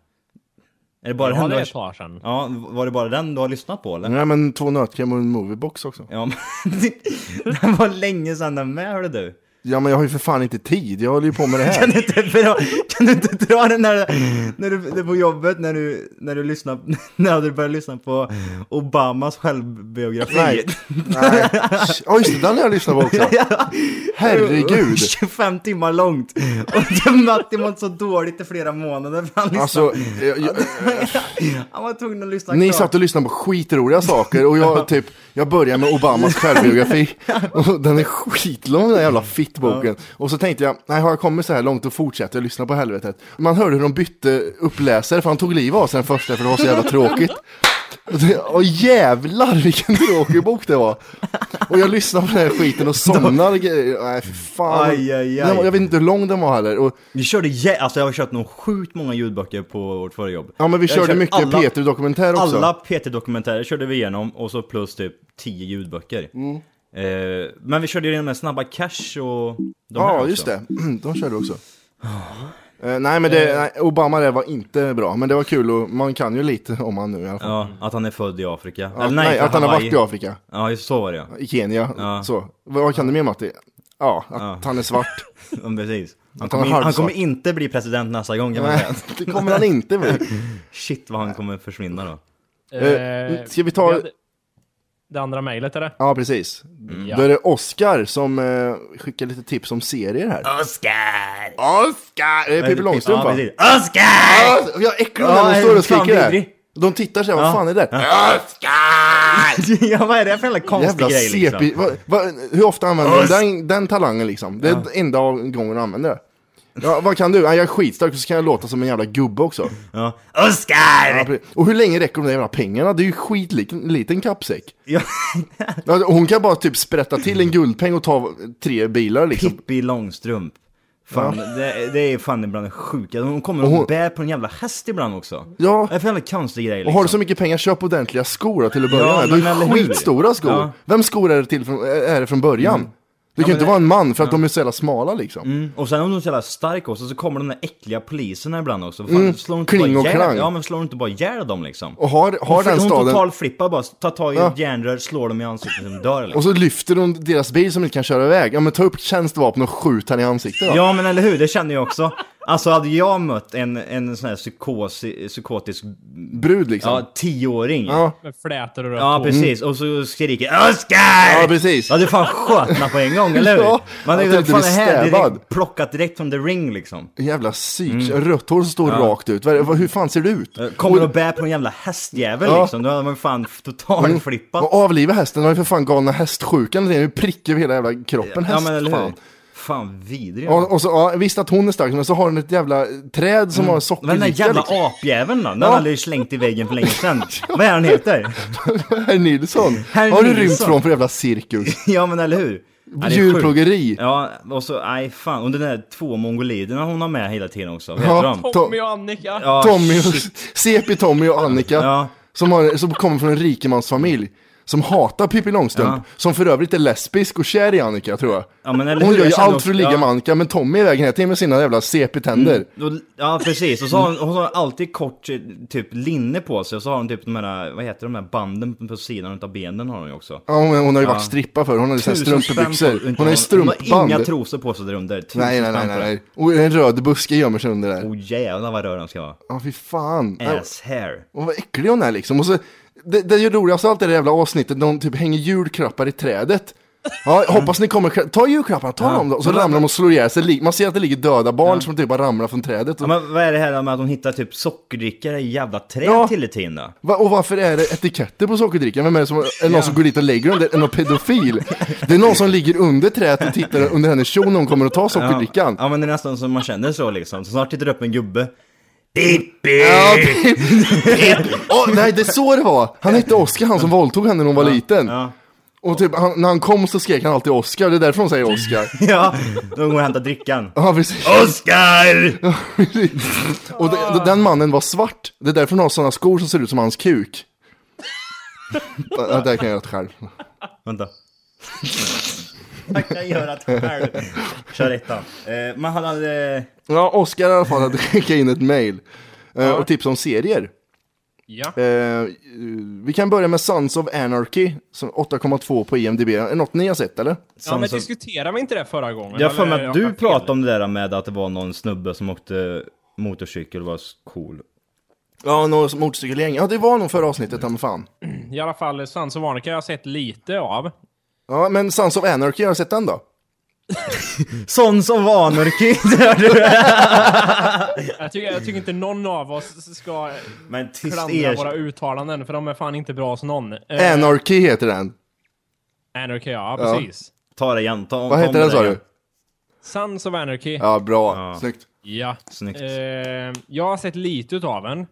Speaker 7: Är det bara
Speaker 8: Ja,
Speaker 7: den
Speaker 8: det
Speaker 7: du
Speaker 8: är
Speaker 7: har-
Speaker 8: ett par sedan.
Speaker 7: Ja, var det bara den du har lyssnat på eller?
Speaker 4: Nej men två nötkräm och en moviebox också.
Speaker 7: Ja, men [LAUGHS] den var länge sedan den med hörde du.
Speaker 4: Ja men jag har ju för fan inte tid, jag håller ju på med det här.
Speaker 7: [LAUGHS] Kan du inte, dra, kan du inte dra den när, när du det är på jobbet när du, när du lyssnar, [LAUGHS] när du börjar lyssna på Obamas självbiografi?
Speaker 4: Nej. Nej. [LAUGHS] Ja just det, den har jag lyssnat på också.
Speaker 7: [LAUGHS]
Speaker 4: Herregud.
Speaker 7: 25 timmar långt! Och det- Matti mådde så dåligt i flera månader för han, lyssnade,
Speaker 4: Alltså, jag, jag,
Speaker 7: han var tvungen att lyssna
Speaker 4: ni
Speaker 7: klart.
Speaker 4: satt och lyssnade på skitroliga saker och jag typ, jag började med Obamas
Speaker 7: [LAUGHS]
Speaker 4: självbiografi. Och den är skitlång den här jävla fittboken. Och så tänkte jag, nej har jag kommit så här långt och fortsätter jag lyssna på helvetet. Man hörde hur de bytte uppläsare för han tog livet av sig den första för det var så jävla tråkigt. Och det- Åh jävlar vilken tråkig bok det var. Och jag lyssnade på den här skiten och somnade. grejer. Nej fy fan.
Speaker 7: Aj, aj, aj.
Speaker 4: Den var- Jag vet inte hur lång den var heller. Och,
Speaker 7: Vi körde, jä- alltså jag har kört nog sjukt många ljudböcker på vårt förra jobb.
Speaker 4: ja men vi
Speaker 7: Jag
Speaker 4: körde
Speaker 7: kör
Speaker 4: mycket
Speaker 7: alla-
Speaker 4: Peter-dokumentär också.
Speaker 7: Alla PT-dokumentärer körde vi igenom och så plus typ 10 ljudböcker.
Speaker 4: Mm.
Speaker 7: Eh, men vi körde ju igenom med Snabba Cash och de här
Speaker 4: Ja,
Speaker 7: också.
Speaker 4: just det. [CLEARS THROAT] De körde också. Eh, nej, men det, nej, Obama det var inte bra, men det var kul och man kan ju lite om han nu i alla fall.
Speaker 7: Ja, att han är född i Afrika.
Speaker 4: Ja, nej,
Speaker 7: för
Speaker 4: att han har
Speaker 7: Hawaii.
Speaker 4: varit i Afrika,
Speaker 7: Ja, just så var det ja.
Speaker 4: i Kenya,
Speaker 7: Ja.
Speaker 4: så. Vad vad kan du mer Matti? Ja, att han är
Speaker 7: [LAUGHS]
Speaker 4: svart.
Speaker 7: ja precis. Han
Speaker 4: Att han är
Speaker 7: kommer, in, han
Speaker 4: halvsvart.
Speaker 7: kommer inte bli president nästa gång kan man
Speaker 4: Nej,
Speaker 7: säga.
Speaker 4: det kommer han inte
Speaker 7: [LAUGHS]
Speaker 4: bli.
Speaker 7: Shit vad han kommer försvinna då.
Speaker 4: Eh, ska vi ta-
Speaker 8: hade- Det andra mejlet eller?
Speaker 4: Ja, precis.
Speaker 7: Mm.
Speaker 4: Då är det Oscar som eh, skickar lite tips om serier här.
Speaker 7: Oscar!
Speaker 4: Oscar! Är det Pippi Långstrump
Speaker 7: typ- ja,
Speaker 4: va?
Speaker 7: precis.
Speaker 4: Ja,
Speaker 7: Oscar!
Speaker 4: Jag är äcklig
Speaker 7: Ja,
Speaker 4: när de
Speaker 7: är
Speaker 4: står och
Speaker 7: fan
Speaker 4: skriker där.
Speaker 7: vidrig.
Speaker 4: De tittar så här, vad fan är det där?
Speaker 7: Ah, [LAUGHS] ja, vad är det för jävla konstig
Speaker 4: Jävla
Speaker 7: grej
Speaker 4: CP.
Speaker 7: liksom?
Speaker 4: Va, va, hur ofta använder du den, den talangen liksom? Det är enda gången du använder det. Ja, vad kan du? Ja, jag är skitstark och så kan jag låta som en jävla gubbe också.
Speaker 7: Ja. Oscar!
Speaker 4: Ja, pre- och hur länge räcker de där jävla pengarna? Det är ju skitliten liten kappsäck.
Speaker 7: Ja.
Speaker 4: Ja, Hon kan bara typ sprätta till en guldpeng och ta tre bilar liksom.
Speaker 7: Pippi Långstrump. Fan, det, det är fan ibland det sjuka. Hon kommer och
Speaker 4: Och hon-
Speaker 7: bär på en jävla häst ibland också.
Speaker 4: Ja.
Speaker 7: Det är för jävla konstig grej liksom.
Speaker 4: Och har du så mycket pengar, köp ordentliga skor då, till att börja
Speaker 7: Ja,
Speaker 4: med.
Speaker 7: men
Speaker 4: Det
Speaker 7: eller
Speaker 4: är
Speaker 7: hur?
Speaker 4: skitstora skor.
Speaker 7: Ja.
Speaker 4: Vem skor är det, till från, är det från början? Det kan ju inte vara en man för att de är så jävla smala liksom.
Speaker 7: Mm. Och sen om de är så jävla stark också så kommer de där äckliga poliserna ibland också. Fan, slår de inte
Speaker 4: Mm. Kling
Speaker 7: bara
Speaker 4: och
Speaker 7: ihjäl-
Speaker 4: klang.
Speaker 7: Ja men slår de inte bara ihjäl dem liksom?
Speaker 4: Och har, har
Speaker 7: hon
Speaker 4: den
Speaker 7: hon
Speaker 4: staden...
Speaker 7: total flippar bara, tar tag i
Speaker 4: Ja.
Speaker 7: ett järnrör, slår dem i ansiktet och de dör liksom.
Speaker 4: Och så lyfter de deras bil som inte kan köra iväg. Ja men ta upp tjänstevapen och skjut han i ansiktet då.
Speaker 7: Ja men eller hur, det känner jag också. Alltså hade jag mött en, en sån här psykos, psykotisk...
Speaker 4: Brud liksom?
Speaker 7: Ja, tioåring.
Speaker 4: Ja. Mm.
Speaker 8: Med flätor och röd
Speaker 7: Ja,
Speaker 8: tå.
Speaker 7: precis. Och så skriker Oskar!
Speaker 4: Ja, precis.
Speaker 7: Ja, du fan sköt mig på en gång, eller
Speaker 4: [LAUGHS]
Speaker 7: hur?
Speaker 4: Ja,
Speaker 7: Man
Speaker 4: jag tänkte
Speaker 7: tänkte, fan det
Speaker 4: bli
Speaker 7: här är
Speaker 4: stävad.
Speaker 7: direkt plockat direkt från the ring liksom.
Speaker 4: En jävla psyk. Rött hår som står rakt ut. Vad är det- vad- Hur fan ser det ut?
Speaker 7: Mm. Eh, Kommer och bär på en jävla hästjävel
Speaker 4: Ja. Mm.
Speaker 7: liksom. Då hade man fan totalflippat.
Speaker 4: Och avliva hästen, de har ju för fan galna hästsjukan. Det är ju prickar över hela jävla kroppen
Speaker 7: Ja,
Speaker 4: häst.
Speaker 7: men eller hur?
Speaker 4: fan.
Speaker 7: Fan vidrig.
Speaker 4: Och, och så, ja, visst att hon är stark, men så har hon ett jävla träd som har sockerdricka.
Speaker 7: Men Mm. den där jävla
Speaker 4: liksom.
Speaker 7: apjäveln då? Den
Speaker 4: Ja.
Speaker 7: hade ju slängt i väggen för länge sedan. Vad är han heter?
Speaker 4: [LAUGHS]
Speaker 7: [LAUGHS]
Speaker 4: Herr Nilsson.
Speaker 7: Herr
Speaker 4: har du
Speaker 7: Nilsson.
Speaker 4: rymt från för jävla cirkus?
Speaker 7: Ja men eller hur? Ja, det är sjukt.
Speaker 4: Djurplågeri.
Speaker 7: Ja, och så, nej fan. Och de där två mongoliderna hon har med hela tiden också. Vad heter
Speaker 4: Ja.
Speaker 7: de?
Speaker 8: Tommy och Annika.
Speaker 7: Ja,
Speaker 4: Tommy och, CP Tommy och Annika.
Speaker 7: Ah, Ja.
Speaker 4: Som, har, som kommer från en rikemansfamilj. Som hatar Pippi Långstrump.
Speaker 7: Ja.
Speaker 4: Som för övrigt är lesbisk och kär i Annika tror jag.
Speaker 7: Ja, men eller
Speaker 4: Hon
Speaker 7: hur?
Speaker 4: gör
Speaker 7: Jag
Speaker 4: ju
Speaker 7: känner
Speaker 4: allt
Speaker 7: också-
Speaker 4: för att ligga
Speaker 7: ja. Mm.
Speaker 4: med Annika. Men Tommy är vägen hela tiden med sina jävla CP-tänder.
Speaker 7: Då- Ja precis, och så har hon, hon har alltid kort eh, typ linne på sig och så har hon typ de här, vad heter de här banden på sidan utav benen har hon ju också.
Speaker 4: Ja, hon, hon har ju varit
Speaker 7: Ja.
Speaker 4: strippa för Hon har ju såna här
Speaker 7: Tusen spänn
Speaker 4: strumpbyxor.
Speaker 7: på-
Speaker 4: Hon har ju
Speaker 7: Hon har
Speaker 4: strumpband.
Speaker 7: inga trosor på sig där under. Tusen
Speaker 4: Nej, nej, nej,
Speaker 7: spänn på
Speaker 4: nej,
Speaker 7: det.
Speaker 4: nej. Och en röd buske gömmer sig under där.
Speaker 7: Åh jävlar vad röd han ska vara.
Speaker 4: Ja, fy fan.
Speaker 7: Ass hair.
Speaker 4: Och vad äcklig hon är liksom. Och så, det, det är ju roligaste av allt det där jävla avsnittet när hon typ hänger julklappar i trädet. Ja, hoppas ni kommer, ta julklapparna, ta dem då. Och så ramlar de och slår ihjäl sig. Lig- Man ser att det ligger döda barn som typ bara ramlar från trädet.
Speaker 7: Ja,
Speaker 4: Och,
Speaker 7: men vad är det här med att hon hittar typ sockerdrickare i jävla träd
Speaker 4: Ja.
Speaker 7: till i tiden då?
Speaker 4: va, och varför är det etiketter på sockerdrickan? Vem är det som, är det någon som går dit och lägger dem? där? Är det någon pedofil? Det är någon som ligger under trädet och tittar under hennes kjol när hon kommer och tar sockerdrickan.
Speaker 7: Ja men det är nästan som man känner så liksom, så snart tittar det upp en gubbe. Pippi!
Speaker 4: Ja, pip, pip. Åh, [LAUGHS] nej, det är så det var. Han hette Oskar, han som våldtog henne när hon var liten.
Speaker 7: Ja.
Speaker 4: Och typ, han, när han kom så skrek han alltid Oskar, det är därför hon säger
Speaker 7: [LAUGHS]
Speaker 4: Oskar.
Speaker 7: [LAUGHS] Ja, de går och hämtar drickan.
Speaker 4: Ja, precis.
Speaker 7: Oskar!
Speaker 4: Och de, den mannen var svart. Det är därför han har sådana skor som ser ut som hans kuk. Ja, det här kan jag göra ett själv.
Speaker 7: Vänta. [LAUGHS] Jag kan göra det själv. Kör ettan. Eh, man hade... Eh,
Speaker 4: Ja, Oskar i alla fall hade skickat in ett mail. eh, Och tips om serier.
Speaker 8: Ja.
Speaker 4: Eh, vi kan börja med Sons of Anarchy, som 8,2 på IMDB. Är det något ni har sett eller?
Speaker 8: Ja, men
Speaker 7: som-
Speaker 8: diskuterade vi inte det förra gången?
Speaker 7: jag har för
Speaker 8: Eller
Speaker 7: mig att
Speaker 8: jag
Speaker 7: du
Speaker 8: kan
Speaker 7: pratade
Speaker 8: fel.
Speaker 7: om det där med att det var någon snubbe som åkte motorcykel och var cool.
Speaker 4: Ja, något som motorcykelgäng. Ja, det var nog förra avsnittet, ja, men fan.
Speaker 8: I alla fall, Sans och Varnica har jag sett lite av.
Speaker 4: Ja, men Sons of Anarchy, har jag sett den då?
Speaker 7: Sons of Anarchy!
Speaker 8: Jag tycker, jag tycker inte någon av oss ska
Speaker 7: Men tyst
Speaker 8: klandra
Speaker 7: er...
Speaker 8: våra uttalanden, för de är fan inte bra hos någon. Eh,
Speaker 4: Anarchy heter den.
Speaker 8: Anarchy, ja precis.
Speaker 7: Ta det igen, ta om
Speaker 4: Vad heter den sa du?
Speaker 8: Sons of Anarchy. Ja.
Speaker 4: Ja, bra. Snyggt.
Speaker 7: Snyggt. Mm.
Speaker 8: Eh, jag har sett lite utav den.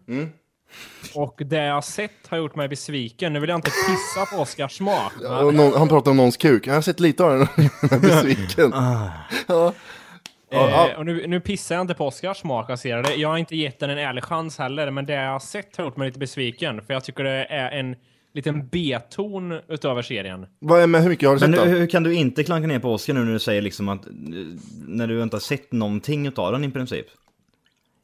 Speaker 8: Och det jag har sett har gjort mig besviken. Nu vill jag inte pissa på Oscars smak.
Speaker 4: Och någon, han pratar om någons kuk. Jag har sett lite av den. [LAUGHS] Jag är besviken.
Speaker 8: Eh, och nu, nu pissar jag inte på Oscars smak, jag ser det. Jag har inte gett den en ärlig chans heller, men det jag har sett har gjort mig lite besviken. För jag tycker det är en liten B-ton utöver serien.
Speaker 4: Vad är med, hur mycket har du
Speaker 7: Men
Speaker 4: sett
Speaker 7: hur,
Speaker 4: då?
Speaker 7: hur kan du inte klanka ner på Oscar nu när du säger liksom att... eh, När du inte har sett någonting utav den i princip?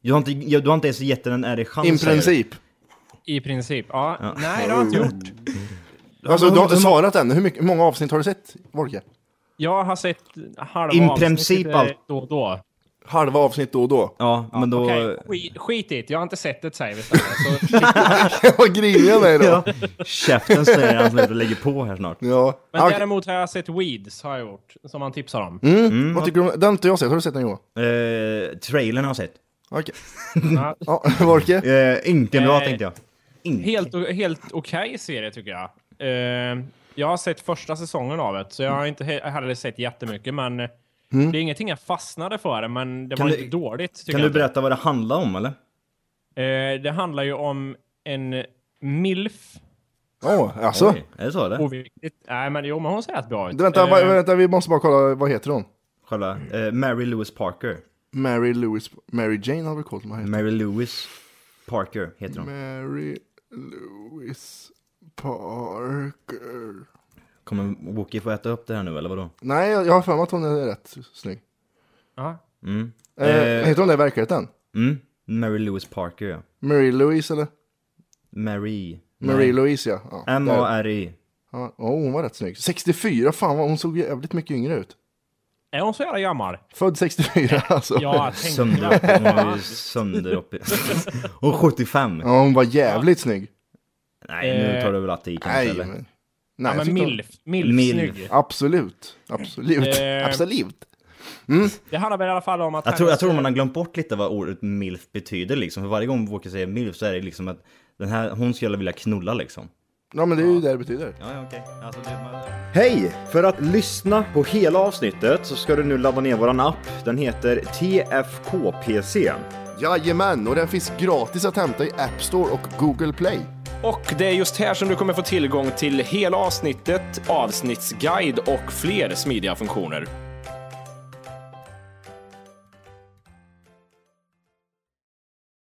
Speaker 7: Du har inte, ja, du har inte ens gett den en ärlig chans.
Speaker 4: I
Speaker 7: säger du.
Speaker 4: princip.
Speaker 8: I princip. Ja. Nej, det har jag inte gjort.
Speaker 4: Alltså
Speaker 7: men
Speaker 4: du har inte
Speaker 7: hur- hur
Speaker 4: svarat än. Hur, mycket, hur många avsnitt har du sett, Volke?
Speaker 8: Jag har sett halva
Speaker 7: In
Speaker 8: avsnittet,
Speaker 7: princip
Speaker 8: eh,
Speaker 7: allt.
Speaker 8: då och då.
Speaker 4: Halva avsnitt då och då.
Speaker 7: Ja, men då...
Speaker 8: Okej, skit, skit it. Jag har inte sett det, säger vi så här. Så-
Speaker 4: Vad grinig [LAUGHS] jag är då.
Speaker 7: Käften säger han
Speaker 8: [LAUGHS]
Speaker 7: som heter och lägger på här snart.
Speaker 4: Ja.
Speaker 8: Men
Speaker 4: Ah, okej.
Speaker 8: däremot har jag sett Weeds, har jag gjort. Som han tipsar om.
Speaker 7: Mm.
Speaker 4: Vad tycker du om den? har inte jag sett. Har du sett den Johan?
Speaker 7: Eh, trailern har jag sett.
Speaker 4: Okej. Ja, [LAUGHS] Volke?
Speaker 7: Eh, inte bra
Speaker 8: Eh,
Speaker 7: tänkte jag. Inte.
Speaker 8: Helt, o- helt okej serie, tycker jag. Eh, jag har sett första säsongen av det, så jag har inte he- heller sett jättemycket, men eh, det är ingenting jag fastnade för, men det
Speaker 7: Mm. Kan
Speaker 8: var
Speaker 7: du-
Speaker 8: inte dåligt. tycker
Speaker 7: Kan
Speaker 8: jag
Speaker 7: du
Speaker 8: inte.
Speaker 7: berätta vad det handlar om eller?
Speaker 8: Eh, det handlar ju om en milf.
Speaker 4: Åh, alltså.
Speaker 7: Oj, är det så eller?
Speaker 8: Oviktigt. Nej, men jo, men hon ser rätt bra ut.
Speaker 4: Vänta, va,
Speaker 8: Eh,
Speaker 4: vänta, vi måste bara kolla. Vad heter hon?
Speaker 7: Kolla. Eh, Mary Lewis Parker.
Speaker 4: Mary Louis... Mary Jane har vi koll på. vad heter.
Speaker 7: Mary Lewis Parker heter hon.
Speaker 4: Mary Louis Parker.
Speaker 7: Kommer Wookie få äta upp det här nu eller vadå?
Speaker 4: Nej, jag jag har för mig att hon är rätt snygg.
Speaker 8: ja.
Speaker 4: Eh, heter hon det i verkligheten?
Speaker 7: Mm. Mary Lewis Parker ja.
Speaker 4: Mary Louise eller?
Speaker 7: Mary.
Speaker 4: Mary Louise ja. ja. där.
Speaker 7: M-A-R-I.
Speaker 4: Ja, oh, hon var rätt snygg. 64, fan vad hon såg jävligt mycket yngre ut.
Speaker 8: Är hon så jävla gammal?
Speaker 4: Född 64 [LAUGHS] alltså.
Speaker 8: Ja, jag
Speaker 7: [LAUGHS]
Speaker 8: tänkte
Speaker 7: Sönder upp, hon var
Speaker 8: det.
Speaker 7: ju sönder [LAUGHS] upp. Och 75.
Speaker 4: Ja, hon var jävligt snygg.
Speaker 7: Nej, nu tar du väl att det i kanske
Speaker 4: Nej,
Speaker 7: eller?
Speaker 4: men...
Speaker 8: Ja,
Speaker 4: Nej, jag
Speaker 8: men
Speaker 4: tyckte hon-
Speaker 8: milf. Milf,
Speaker 7: Milf.
Speaker 8: snygg.
Speaker 4: Absolut. Absolut.
Speaker 8: Eh.
Speaker 4: Absolut.
Speaker 8: Det handlar väl i alla fall om att
Speaker 7: Jag tror, jag
Speaker 8: hennes-
Speaker 7: tror man har glömt bort lite vad ordet milf betyder liksom. För varje gång Walker säger milf så är det liksom att den här, hon skulle vilja knulla liksom.
Speaker 4: Ja, men det är ju det det betyder.
Speaker 7: Ja, ja, okej. Alltså, det, man...
Speaker 2: Hej! För att lyssna på hela avsnittet så ska du nu ladda ner våran app. Den heter TFKPC.
Speaker 4: Jajamän, och den finns gratis att hämta i App Store och Google Play.
Speaker 11: Och det är just här som du kommer få tillgång till hela avsnittet, avsnittsguide och fler smidiga funktioner.